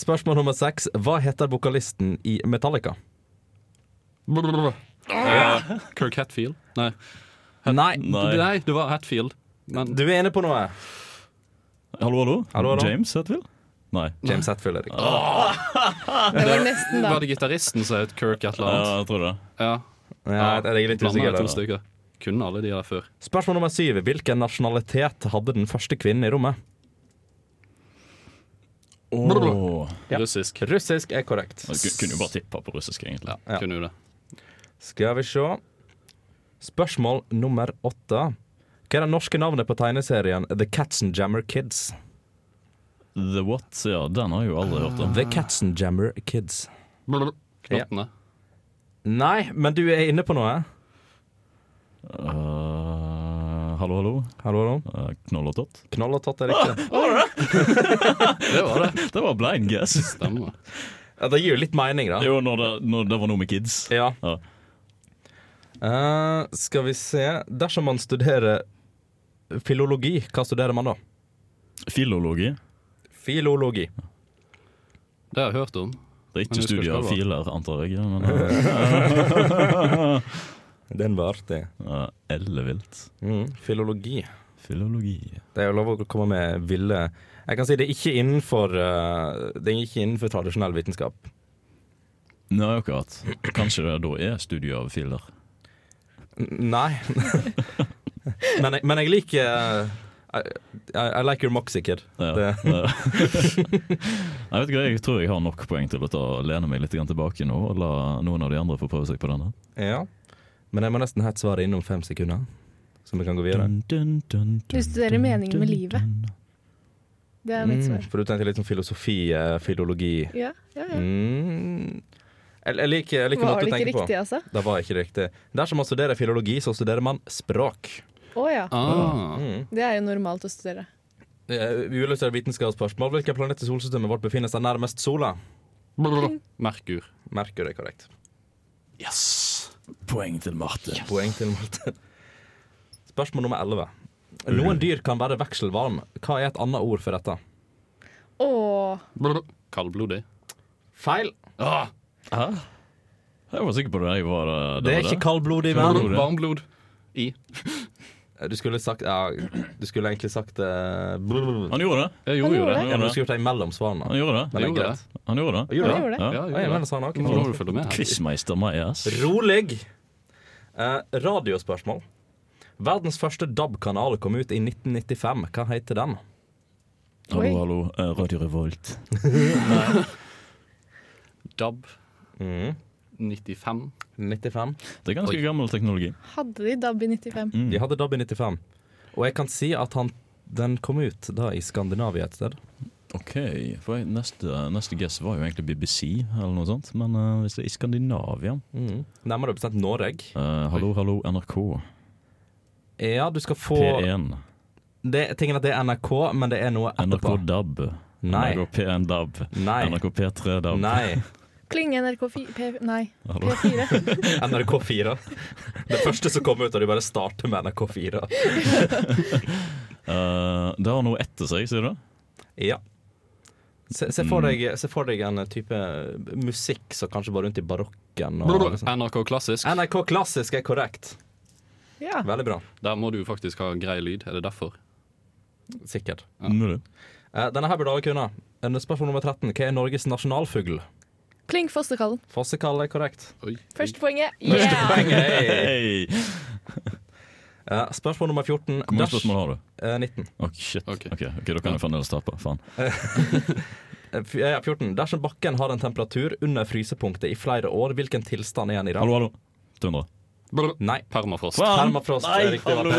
E: spørsmål nummer seks. Hva heter vokalisten i Metallica?
C: Brr. Eh, Kirk Hatfield? Nei.
E: Nei.
D: Nei.
C: Nei, det var Hatfield. Men
E: Du er inne på noe.
D: Hallo, hallo.
E: Hallo, hallo.
D: James Hetfield? Nei.
E: James Hetfield, Erik.
B: Det var nesten, da.
C: var det gitaristen som het Kirk et eller
D: Ja,
C: annet?
D: jeg tror det.
C: Ja.
E: Ja, jeg er litt
C: Blander
E: usikker
C: jeg to
E: der.
C: stykker. Kunne alle de der før.
E: Spørsmål nummer syv. Hvilken nasjonalitet hadde den første kvinnen i rommet?
D: Åh.
E: Ja.
C: Russisk.
E: Russisk er korrekt.
D: Jeg ku- kunne jo bare tippa på russisk, egentlig.
C: Ja,
E: Ja.
C: kunne jo det.
E: Skal vi se. Spørsmål nummer åtte. Hva er det norske navnet på tegneserien The Cats and Jammer Kids?
D: The What? Ja, den har jeg jo aldri hørt om.
C: Ah.
E: The Cats and Jammer Kids.
C: Knottene.
E: Nei, men du er inne på noe.
D: Eh, hallo, hallo.
E: Hallo, hallo.
D: Uh, Knoll og tott. (laughs)
E: Knoll og tott er riktig.
C: Det var det.
D: Det var blind guess.
C: Stemmer.
E: (laughs) Ja, det gir jo litt mening, da.
D: (laughs) Jo, når det, når det var noe med kids.
E: Ja.
D: Ja.
E: Eh, skal vi se Dersom man studerer filologi, hva studerer man da?
D: Filologi.
E: Filologi.
C: Det har jeg hørt om.
D: Det er
C: Men
D: ikke
C: jeg husker
D: studier av
C: ikke hva det
D: filer, antar jeg. Men (laughs) eh,
E: Den var artig.
D: eh, ellevilt.
E: Mm, filologi.
D: Filologi.
E: Det er jo lov å komme med ville Jeg kan si det er ikke innenfor eh, Det er ikke innenfor tradisjonell vitenskap.
D: Nei, akkurat. Kanskje det da er studier av filer.
E: N nei. (laughs) men, jeg, men jeg liker eh, I, I, I like your moxie, kid.
D: Ja.
E: Det-
D: Ja. (laughs) jeg vet ikke, jeg tror jeg har nok poeng til å ta, lene meg litt grann tilbake nå og la noen av de andre få prøve seg på denne.
E: Ja. Men jeg må nesten ha et svar innom fem sekunder, så vi kan gå videre.
D: Dun, dun, dun, dun,
B: Du studerer
D: dun,
B: meningen med
D: dun,
B: livet.
D: dun.
B: Det er mitt
E: Mm,
B: svar.
E: for du tenkte litt sånn filosofi, eh, filologi
B: Ja, ja, ja.
E: mm. Jeg, jeg liker, jeg liker
B: Var
E: måten
B: det
E: du
B: ikke
E: tenker på.
B: riktig, altså?
E: Det var ikke riktig. Dersom man studerer filologi, så studerer man språk.
B: Å ja.
C: Ah,
E: Mm.
B: Det er jo normalt å studere.
E: Eh, Uløste vitenskapsspørsmål. Hvilken planet i solsystemet vårt befinner seg nærmest sola?
C: Merkur.
E: Merkur er korrekt.
D: Yes! Poeng til Marte.
E: Poeng til Malte. Spørsmål nummer 11. Noen dyr kan være vekselvarm. Hva er et annet ord for dette?
B: Å,
C: Kaldblodig.
E: Feil.
C: Ah,
D: Hæ? Jeg var sikker på det. Jeg var, eh,
E: Det er
D: var
E: ikke kaldblodig, men Eh,
D: Kaldblodig.
C: varmblod. I.
E: Du skulle sagt ja, Du skulle egentlig sagt eh, brr.
D: Han gjorde det.
C: Jeg
B: Han
C: gjorde jo det.
B: gjorde
E: Ja, men Du skulle gjort det mellom svarene.
D: Han gjorde det.
E: Men det er
C: gjorde
E: greit.
D: Han gjorde det.
E: Gjorde
B: han gjorde det.
D: Ja.
C: Ja,
E: Ja, altså, jeg
C: jeg gjorde
E: mener
C: det.
E: svarene
C: Nå må
E: også.
C: du følge med. her.
D: Quizmeister my ass.
E: Rolig. Eh, radiospørsmål. Verdens første DAB-kanal kom ut i 1995. Hva heter den?
D: Hallo,
B: Oi.
D: hallo. eh, Radio Revolt.
C: DAB
B: Mm.
C: 95.
E: 95.
D: Det er ganske
C: Oi.
D: gammel teknologi.
B: hadde de DAB i 95?
E: Mm. De hadde DAB i 95. Og jeg kan si at han, den kom ut da i Skandinavia et sted.
D: Ok, for jeg, neste, neste guess var jo egentlig BBC, eller noe sånt. Men eh, hvis det er i Skandinavia
E: Nærmere bestemt Norge.
D: Eh, Hallo, hallo, NRK.
E: Ja, du skal få
C: E.
D: P1.
E: det, Tingen er at det er NRK, men det er noe
D: NRK
E: etterpå.
D: DAB.
E: Nei.
D: NRK P1 DAB.
E: Nei.
D: NRK P3 DAB.
E: Nei.
B: Kling NRK 4 P... Nei,
D: Hallo.
B: P4.
E: NRK4. Det første som kom ut, og de bare starter med NRK4.
D: Eh, det har noe etter seg, sier du? det?
E: Ja. Se, se, for deg, se for deg en type musikk som kanskje var rundt i barokken. Og
C: Ah,
E: sånn.
C: NRK Klassisk.
E: NRK klassisk er korrekt.
B: Ja.
E: Veldig bra.
C: Der må du faktisk ha grei lyd. Er det derfor?
E: Sikkert.
C: Ja.
D: Må du?
E: Eh, Denne her burde alle kunne. En Spørsmål nummer 13. Hva er Norges nasjonalfugl?
B: Kling Fossekallen.
E: Fossekall er korrekt.
C: Oi.
B: Første poenget. Yeah!
E: Hey.
D: Hey.
E: Eh, Spørsmål nummer 14.
D: Hvor mange
E: Ders-
D: spørsmål har du?
E: eh, 19.
D: Å, shit.
C: Ok.
D: Ok, ok, Da kan jeg fremdeles tape. Faen.
E: Eh, f- ja, 14. Dersom bakken har en temperatur under frysepunktet i flere år, hvilken tilstand er den i dag?
D: Hallo, hallo. 200.
C: Brr.
E: Nei.
C: Permafrost.
E: Permafrost er
D: Nei,
E: riktig.
D: hallo!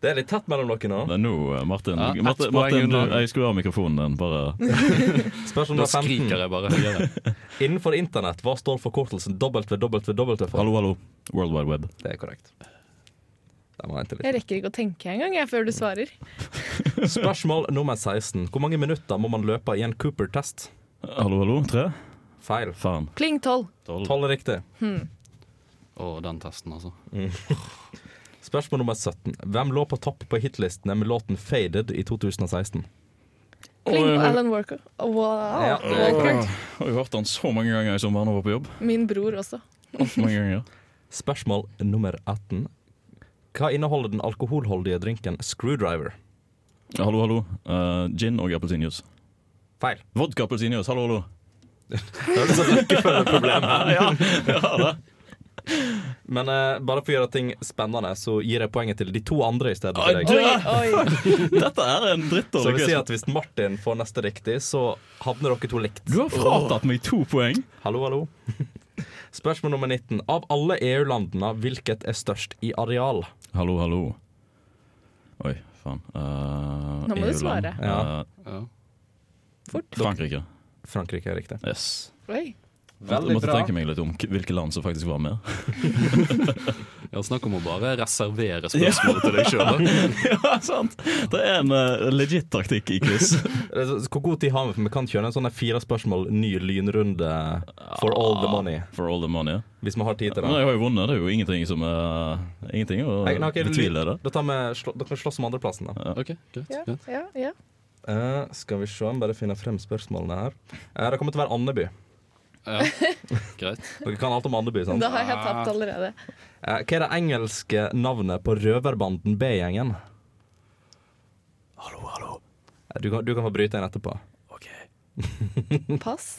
E: Det er litt tett mellom dere nå.
D: Det er nå, eh, Martin.
C: Ja, ett
D: Martin,
C: poeng
D: Martin du,
C: unna.
D: jeg skrur av mikrofonen din. Bare
E: Spørsmål
C: Da
E: nummer 15.
C: skriker jeg bare høyere.
E: Innenfor internett, hva står forkortelsen WWW for?
D: hallo, hallo. World Wide Web.
E: Det er korrekt. Der var en til
B: Jeg
E: litt.
B: rekker ikke å tenke engang jeg, før du svarer.
E: Spørsmål nummer 16. Hvor mange minutter må man løpe i en Cooper-test?
D: Hallo, hallo. Tre?
E: Feil.
D: Faen.
B: Kling 12.
D: Tolv.
E: Tolv er riktig.
C: Å, den testen, altså.
E: Spørsmål nummer 17. Hvem lå på topp på hitlistene med låten 'Faded' i 2016?
B: Kling
D: Oi, oi.
B: Alan Walker. Wow.
E: Ja, det er
B: Walker.
D: Jeg har jo hørt han så mange ganger som han var på jobb.
B: Min bror også.
D: Altfor mange ganger.
E: Spørsmål nummer 18. Hva inneholder den alkoholholdige drinken 'Screwdriver'?
D: Hallo, hallo. Eh, gin og appelsinjuice.
E: Feil.
D: Vodka appelsinjuice, hallo, hallo.
E: Det er liksom
B: (laughs)
E: rekkefølgeproblem her. Men eh, bare for å gjøre ting spennende, så gir jeg poenget til de to andre i stedet for deg.
B: Oi, oi.
D: Dette er en
E: Så
D: drittdårlig
E: vi
D: quiz.
E: sier at hvis Martin får neste riktig, så havner dere to likt.
D: Du har fratatt meg to poeng.
E: Hallo, hallo. (laughs) Spørsmål nummer 19. Av alle EU-landene, hvilket er størst i areal?
D: Hallo, hallo. Oi, faen. Eh,
B: Nå må du
D: EU-land.
B: svare.
E: Ja.
D: Eh,
C: Ja.
B: Fort.
D: Frankrike.
E: Frankrike er riktig.
D: Yes.
B: Oi.
D: jeg måtte tenke meg litt om k- hvilke land som faktisk var
E: (laughs)
D: med.
C: Ja, Snakk om å bare reservere spørsmålet til deg sjøl.
D: (laughs) ja, sant! Det er en eh, legit taktikk i
E: (laughs)
D: quiz.
E: Det er Eh, så- Hvor god tid har vi? For vi kan kjøre en sånn der fire spørsmål, ny lynrunde for all the money.
D: For all the money.
E: Hvis vi har tid til
D: Men
E: det.
D: jeg har jo vunnet. Det er jo ingenting som eh, Ingenting å
E: Nei, ok,
D: betvile det.
E: Da tar vi slå, da kan vi slåss om andreplassen, da.
C: Ok, greit,
B: Ja,
C: greit.
B: ja, ja.
E: Eh, skal vi se, bare finne frem spørsmålene her. Eh, det kommer til å være Andeby.
C: Ja. greit.
E: Dere kan alt om Andeby, sant?
B: Da har jeg tapt allerede.
E: Eh, hva er det engelske navnet på røverbanden B-gjengen? Hallo, hallo. Eh, Du kan, du kan få bryte inn etterpå.
B: Pass.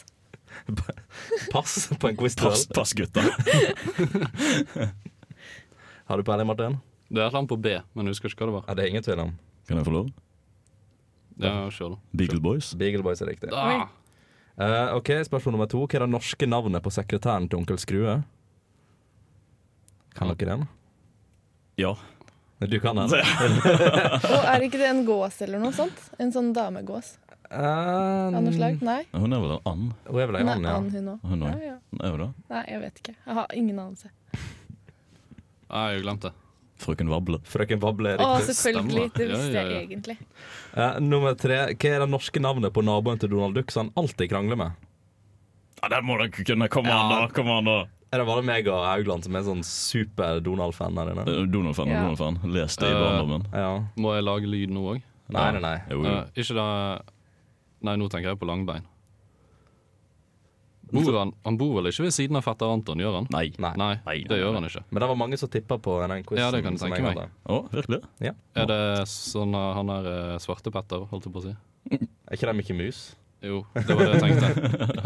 E: Pass på en quiz.
D: Pass, pass
E: (laughs)
D: gutta!
E: Har du peiling, Martin?
C: Det er et land på B, men jeg husker ikke hva det var.
E: Ja, det er ingen tvil om.
D: Kan jeg få lov?
C: Ja, kjør da.
D: Beagle Boys?
E: Beagle Boys er riktig.
C: Ah,
E: Eh, ok, Spørsmål nummer to. Hva er det norske navnet på sekretæren til onkel Skrue? Kan dere den?
D: Ja.
E: Du kan den?
B: Og er ikke det en gås eller noe sånt? En sånn damegås av noe
E: Uh,
B: slag? Nei?
D: Hun er vel en and?
E: hun er vel ei
B: Nei,
E: and,
B: an hun
E: ja.
B: òg.
D: Hun
B: Ja,
D: òg?
B: ja.
D: Hun er jo det.
B: Nei, jeg vet ikke. Jeg har ingen anelse.
C: ah, jeg glemte det.
D: Frøken Vable.
E: Frøken Vable er
B: Å,
E: riktig.
B: selvfølgelig.
C: stemmer.
B: Det
C: Ja,
B: visste
C: ja, ja.
B: jeg egentlig.
E: Eh, nummer tre. Hva er det norske navnet på naboen til Donald Duck som han alltid krangler med?
D: Ja, den må dere kunne! Kom an, da! kom an da
E: Er det bare meg og Haugland som er sånn super Donald-fan her inne?
D: Eh, Donald-fan,
B: Ja.
D: Donald-fan. Les det i
C: Eh,
D: barndommen.
E: Ja.
C: Må jeg lage lyd nå òg?
E: Nei, nei, nei.
D: Jo, jo.
C: ikke det Nei, nå tenker jeg på langbein. Bor han, han bor vel ikke ved siden av fetter Anton, gjør han?
D: Nei.
E: Nei.
C: Nei,
D: Nei,
C: det
D: nei,
C: gjør
D: nei.
C: han ikke.
E: Men det var mange som tippa på den quizen.
C: Ja, det kan jeg
E: som
C: tenke
E: jeg
C: meg.
E: hadde.
D: Å, virkelig?
C: Er det sånn at han er eh, svarte Petter, holdt jeg på å si?
E: Er ikke det Mikke Mus?
C: Jo, (laughs) det var det jeg tenkte.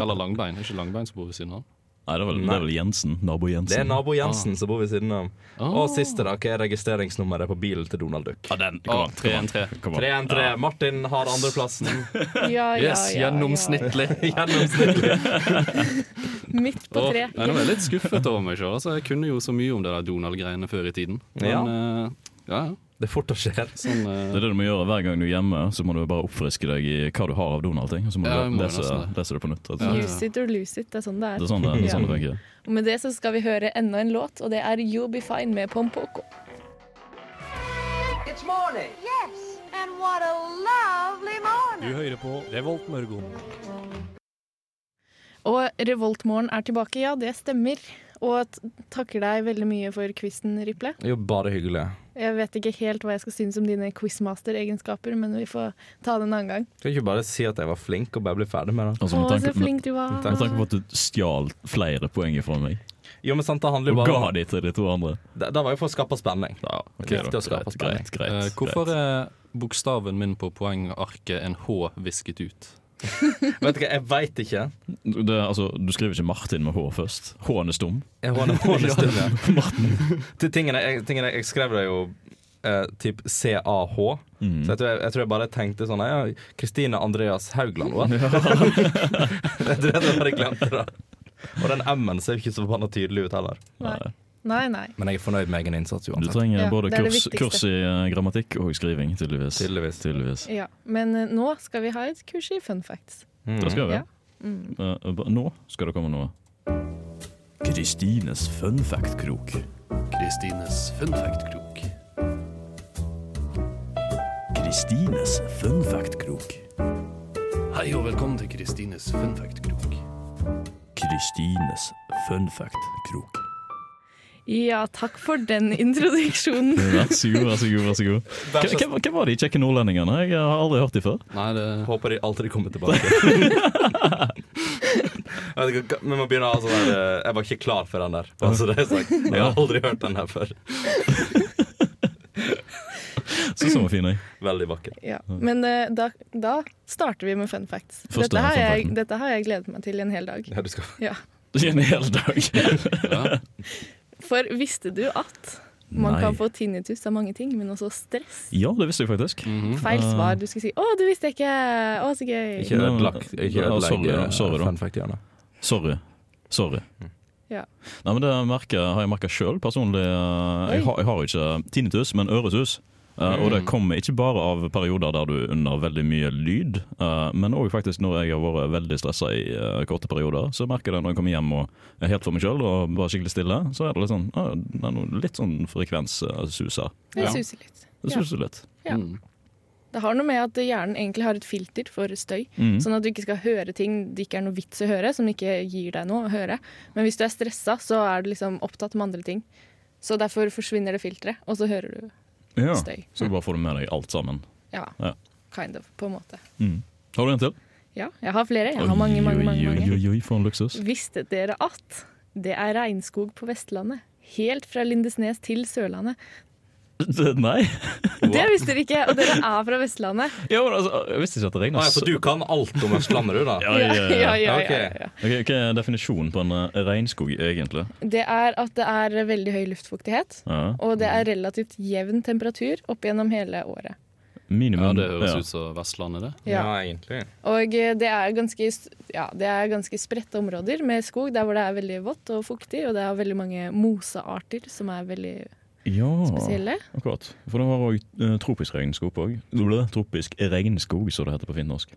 D: (laughs)
C: Eller langbein. Er ikke langbein som bor ved siden av han?
D: Nei, det er vel,
E: Nei.
D: det er vel Jensen. Nabo Jensen.
E: Det er nabo Jensen som Ah. bor ved siden av. Og siste, da. Hva er registreringsnummeret på bilen til Donald Duck?
D: Ja, den.
C: Å,
D: Kom an, kom an.
C: 3-1-3.
D: Kom an.
E: 313. Martin har andreplassen. (laughs)
B: Ja, ja,
C: Yes,
B: ja, ja.
C: gjennomsnittlig.
E: Gjennomsnittlig.
B: Midt på
C: Åh,
B: tre.
C: Nei, nå er jeg litt skuffet over meg sjøl. Altså, jeg kunne jo så mye om det der Donald-greiene før i tiden. Men
E: Ja.
C: ja, ja, ja
E: Det er fort å skje.
C: sånn eh,
D: Det er det du må gjøre hver gang du er hjemme. Så må du bare oppfriske deg i hva du har av Donald-ting. og Så må
C: Ja, jeg
D: du
C: må
D: lese,
C: nesten det.
D: lese det på nytt. rett og slett.
B: Use it or lose it. Det er sånn det
D: Det
B: er.
D: er sånn det, det, er sånn det
E: Ja.
D: funker.
B: Og med det så skal vi høre enda en låt, og det er You'll Be Fine med Pompoko.
G: It's morning.
F: Yes, and what a lovely
H: Du
F: morning.
H: hører på Revolt Mørgo.
B: Og Revoltmorgen er tilbake, ja, det stemmer. Og t- takker deg veldig mye for quizen, Riple.
E: Det er jo bare hyggelig.
B: Jeg vet ikke helt hva jeg skal synes om dine quizmaster-egenskaper, men vi får ta det en annen gang.
E: Skal ikke du bare si at jeg var flink, og bare bli ferdig med det?
D: Altså,
B: Å,
D: med,
B: så
D: tanke, med,
B: flink du var.
D: med tanke på at du stjal flere poeng fra meg,
E: Jo, men sant, det handler
D: og
E: jo bare
D: ga
E: om
D: de til de to andre.
E: Det, det var jo for å skape spenning.
D: Ja, ok,
E: Viktig
D: da.
E: å skape
D: greit,
E: spenning.
D: greit, greit,
C: eh, Hvorfor
D: greit.
C: er bokstaven min på poengarket en H visket ut?
E: Vet du hva, jeg veit ikke.
D: Det, altså, du skriver ikke Martin med H først. H-en er stum.
E: Jeg var en
D: (laughs)
E: hård stund, ja. Til tingene, jeg, tingene, jeg skrev det jo eh, typ CAH.
D: Mm.
E: Så jeg tror jeg, jeg tror jeg bare tenkte sånn ja, Kristine Andreas Haugland,
D: (laughs)
E: hva? (laughs) jeg tror jeg bare glemte det. Og den M-en ser jo ikke så forbanna tydelig ut heller.
B: Nei, nei. nei.
E: Men jeg er fornøyd med egen innsats
D: Du
E: uansett.
D: trenger
B: Ja,
D: både
B: det er det
D: kurs,
B: viktigste.
D: kurs i eh, grammatikk og skriving, tydeligvis.
E: Tydeligvis.
D: Tydeligvis.
B: Ja, Men eh, nå skal vi ha et kurs i fun facts.
D: Det skal vi.
B: Ja. Mm.
D: Eh, ba- nå skal det komme noe. Kristines fun fact-krok.
C: Kristines fun fact-krok.
D: Kristines fun fact-krok.
C: Hei og velkommen til Kristines fun fact-krok.
D: Kristines fun fact-krok.
B: Ja, takk for den introduksjonen. (laughs)
D: Vær så god, vær så god. vær så god
E: Vær så
D: Hvem- Hvem hvem var de kjekke nordlendingene? Jeg har aldri hørt de før.
C: Nei, det
D: (laughs)
E: Håper de aldri kommer tilbake. (laughs) Jeg vet ikke, Vi må begynne å ha sånn der eh, Jeg var ikke klar for den der. Bare så det er sagt. Jeg har aldri hørt den her før.
D: Så så fin jeg.
E: Veldig vakker.
B: Ja. Men eh, da, da starter vi med fun facts.
D: Første
B: Dette har,
D: fun
B: jeg,
D: facten.
B: dette har jeg gledet meg til en hel dag.
E: Ja, du skal
B: Ja.
D: I en hel dag.
C: ja.
B: For visste du at man
D: Nei.
B: kan få tinnitus av mange ting, men også stress?
D: (laughs) Ja, det visste jeg faktisk.
C: Mhm.
B: Feil
D: Ah.
B: svar. Du skulle si 'Å, du visste jeg ikke! Å, så gøy'.
E: Ikke ødelegg
D: Ja, sorry,
E: ødelegg, eh,
D: sorry da.
E: fun fact-hjørnet.
D: Sorry. Sorry.
B: Ja.
D: Nei, men Det merker, har jeg merka sjøl personlig. eh,
B: Oi. Mm.
D: Jeg har, jeg har ikke tinnitus, men øresus. Eh, Og det kommer ikke bare av perioder der du er under veldig mye lyd, eh, men òg faktisk når jeg har vært veldig stressa i eh, korte perioder. Så merker jeg det når jeg kommer hjem og er helt for meg sjøl og bare skikkelig stille. Så er det litt sånn, ah, det er noe, litt sånn frekvenssus her.
B: Det
C: Ja.
B: suser litt.
D: Det
B: Ja.
D: suser litt.
B: Ja.
C: Mm.
B: Det har noe med at hjernen egentlig har et filter for støy.
D: Mm.
B: Sånn at du ikke skal høre ting det ikke er noe vits å høre, som ikke gir deg noe å høre. Men hvis du er stressa, så er du liksom opptatt med andre ting. Så derfor forsvinner det filteret, og så hører du
D: Ja.
B: støy.
D: Så du bare får det med deg alt sammen.
B: Ja,
D: Ja.
B: kind of, på en måte.
D: Mm. Har du en til?
B: Ja, jeg har flere. Jeg har mange, mange, mange.
D: Oi,
B: mange.
D: oi, oi, for en
B: (laughs)
D: luksus.
B: Visste dere at det er regnskog på Vestlandet? Helt fra Lindesnes til Sørlandet.
D: Nei.
B: Det visste dere ikke, og dere er fra
D: (laughs)
B: Vestlandet.
D: Jo, men altså, jeg visste ikke at det regna
E: Nei, så du kan alt om Østlandet, du, da?
D: Ja, ja, ja.
B: ja, ja, ja,
E: Ok.
B: ja.
D: Ok, Hva er definisjonen på en eh, regnskog, egentlig?
B: Det er at det er veldig høy luftfuktighet,
D: Ja.
B: og det er relativt jevn temperatur opp gjennom hele året.
D: Minimum.
C: Ja, det høres
D: ja.
C: ut som Vestlandet, det.
B: Ja.
E: egentlig.
B: Og eh, det er ganske, s- ja, det er ganske spredte områder med skog der hvor det er veldig vått og fuktig, og det er veldig mange mosearter som er veldig
D: ja,
B: spesielle.
D: akkurat. For det var òg eh, tropisk regnskog òg. Tropisk regnskog, som det heter på fint norsk.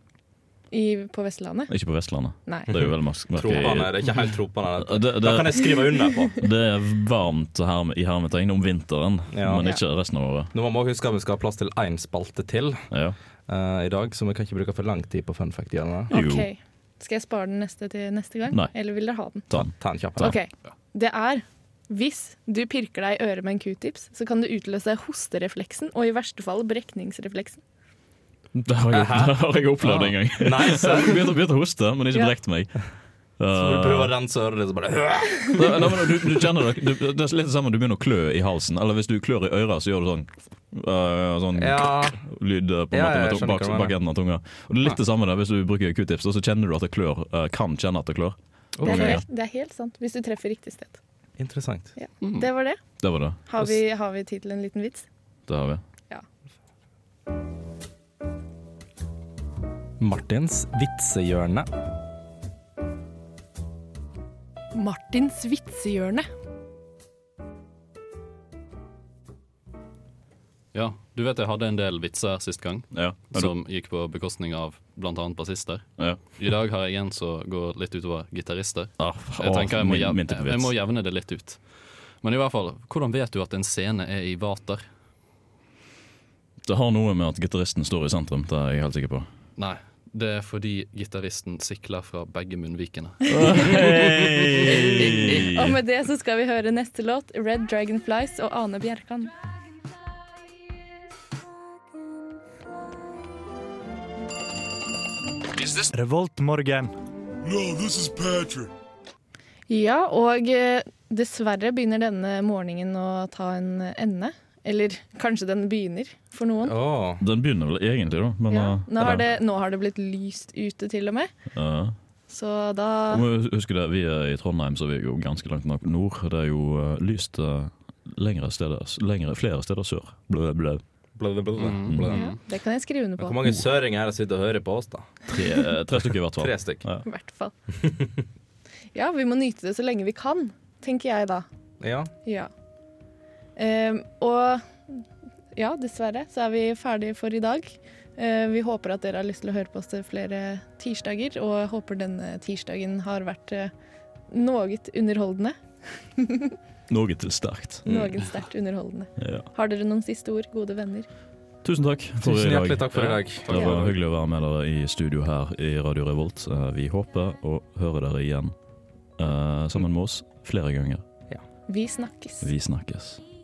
B: I, på Vestlandet.
D: Ikke på Vestlandet.
B: Nei.
D: Det er jo vel mas-
E: (laughs)
D: merke i-
E: Tropene. Det er ikke helt tropene. dette.
D: Det,
E: Da kan
D: det,
E: jeg skrive under på.
D: det er varmt her, i hermetegn om vinteren,
E: Ja.
D: men ikke resten av året.
E: Nå må vi huske at vi skal ha plass til én spalte til
D: Ja.
E: eh, i dag, så vi kan ikke bruke for lang tid på fun fact-hjørnet.
D: Jo.
B: Ok, Skal jeg spare den neste til neste gang,
D: Nei.
B: eller vil dere ha den?
D: Ta den.
E: Ta en kjapp. en.
B: Ok, Det er hvis du pirker deg i øret med en q-tips, så kan du utløse hosterefleksen og i verste fall brekningsrefleksen.
D: Det har jeg, det har jeg opplevd en gang.
E: Nei, så
D: (laughs) Jeg begynte, begynte å hoste, men ikke
B: Ja.
D: brekt meg.
E: må du prøve
D: Eh,
E: å rense øret ditt, så bare
D: Nei, nei, men du, du kjenner det du, Det er litt det samme, du begynner å klø i halsen. Eller hvis du klør i øret, så gjør du sånn øh, Sånn
E: Ja.
D: lyd øh, på en
E: Ja, jeg
D: måte med to-
E: skjønner
D: bak,
E: hva du mener.
D: bak enden av tunga. Og det er litt det samme der, hvis du bruker q-tips, da, så kjenner du at det klør. øh, kan kjenne at det klør.
B: Det, er
D: Ok.
B: helt, det er helt sant, hvis du treffer riktig sted.
E: Interessant.
B: Ja.
D: Mm.
B: Det var det.
D: Det var det.
B: Har vi, har vi tid til en liten vits?
D: Det har vi.
E: Martins vitsehjørne.
B: Martins vitsehjørne.
C: Ja, du vet jeg hadde en del vitser sist gang,
D: Ja. Er du,
C: som gikk på bekostning av bl.a. bassister.
D: ja.
C: I dag har jeg en som går litt utover gitarister.
D: Ah,
C: Jeg tenker jeg må,
D: min-
C: jev
D: min type
C: jeg må
D: vits.
C: jevne det litt ut. Men i hvert fall, hvordan vet du at en scene er i vater?
D: Det har noe med at gitaristen står i sentrum, det er jeg helt sikker på.
C: Nei, det er fordi gitaristen sikler fra begge munnvikene.
B: Og med det så skal vi høre neste låt, Red Dragonflies og Ane Bjerkan.
H: Revoltmorgen.
B: Ja, og eh, dessverre begynner denne morgenen å ta en ende. Eller kanskje den begynner, for noen.
E: Åh.
D: Den begynner vel egentlig, da. Men,
B: Ja.
D: øh,
B: Nå, har det, nå har det blitt lyst ute, til og med.
D: ja.
B: Så da
D: Du må jo huske det, Vi er i Trondheim, så vi er jo ganske langt nok nord. Det er jo eh, lyst eh, lengre steder, s- lengre, flere steder sør. Blø, blø.
E: Bla, bla, bla, bla.
D: Mm.
E: bla.
B: ja, Det kan jeg skrive under
E: Hvor
B: på.
E: mange søringer er det som sitter og hører på oss, da?
D: Tre, eh, tre stykker i hvert fall.
E: Tre stykk.
D: Ja.
B: I hvert fall. (laughs) Ja, vi må nyte det så lenge vi kan, tenker jeg da.
E: Ja.
B: Ja. Ehm, og ja, dessverre så er vi ferdige for i dag. Eh, vi håper at dere har lyst til å høre på oss til flere tirsdager, og håper denne tirsdagen har vært eh, noe underholdende.
D: Noe til sterkt.
E: Mm.
B: Noe sterkt underholdende.
D: Ja.
B: Har dere noen siste ord, gode venner?
D: Tusen takk for
E: Tusen
D: i dag.
E: hjertelig takk for i dag.
D: Det var hyggelig å være med dere i studio her i Radio Revolt. Eh, Vi håper å høre dere igjen eh, sammen med oss flere ganger.
B: Vi snakkes.
D: Vi snakkes.